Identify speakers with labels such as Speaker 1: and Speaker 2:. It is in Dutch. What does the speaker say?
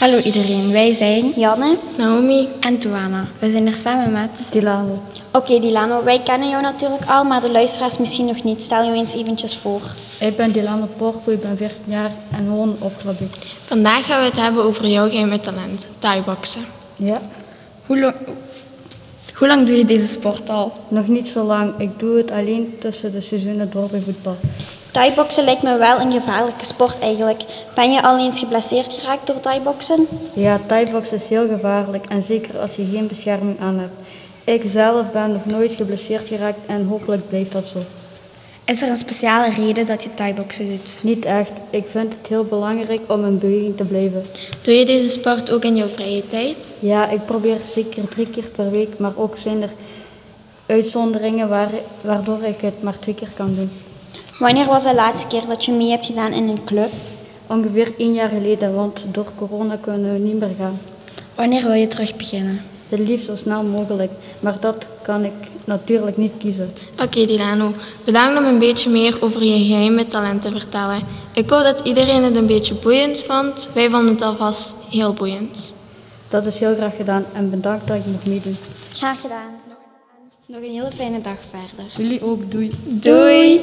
Speaker 1: Hallo iedereen, wij zijn
Speaker 2: Janne.
Speaker 3: Naomi,
Speaker 1: en Tuana. We zijn er samen met.
Speaker 3: Dilano.
Speaker 2: Oké, Dilano, wij kennen jou natuurlijk al, maar de luisteraars misschien nog niet. Stel je eens eventjes voor.
Speaker 3: Ik ben Dilano Porco, ik ben 14 jaar en woon op Overklabbe.
Speaker 4: Vandaag gaan we het hebben over jouw geheime talent, taaiboxen.
Speaker 3: Ja,
Speaker 1: Hoe lang, hoe lang doe je deze sport al?
Speaker 3: nog niet zo lang. Ik doe het alleen tussen de seizoenen door bij voetbal.
Speaker 2: Thai-boksen lijkt me wel een gevaarlijke sport eigenlijk. Ben je al eens geblesseerd geraakt door thai-boksen?
Speaker 3: Ja, Thaibox is heel gevaarlijk en zeker als je geen bescherming aan hebt. Ik zelf ben nog nooit geblesseerd geraakt en hopelijk blijft dat zo.
Speaker 1: Is er een speciale reden dat je thaiboxen doet?
Speaker 3: Niet echt. Ik vind het heel belangrijk om in beweging te blijven.
Speaker 4: Doe je deze sport ook in jouw vrije tijd?
Speaker 3: Ja, ik probeer zeker drie keer per week, maar ook zijn er uitzonderingen waar, waardoor ik het maar twee keer kan doen.
Speaker 2: Wanneer was de laatste keer dat je mee hebt gedaan in een club?
Speaker 3: Ongeveer één jaar geleden, want door corona kunnen we niet meer gaan.
Speaker 1: Wanneer wil je terug beginnen?
Speaker 3: Het liefst zo snel mogelijk, maar dat kan ik natuurlijk niet kiezen.
Speaker 4: Oké Dilano, bedankt om een beetje meer over je geheime talent te vertellen. Ik hoop dat iedereen het een beetje boeiend vond. Wij vonden het alvast heel boeiend.
Speaker 3: Dat is heel graag gedaan en bedankt dat ik mag meedoen.
Speaker 2: Graag gedaan.
Speaker 1: Nog een hele fijne dag verder.
Speaker 3: Jullie ook, doei.
Speaker 1: Doei.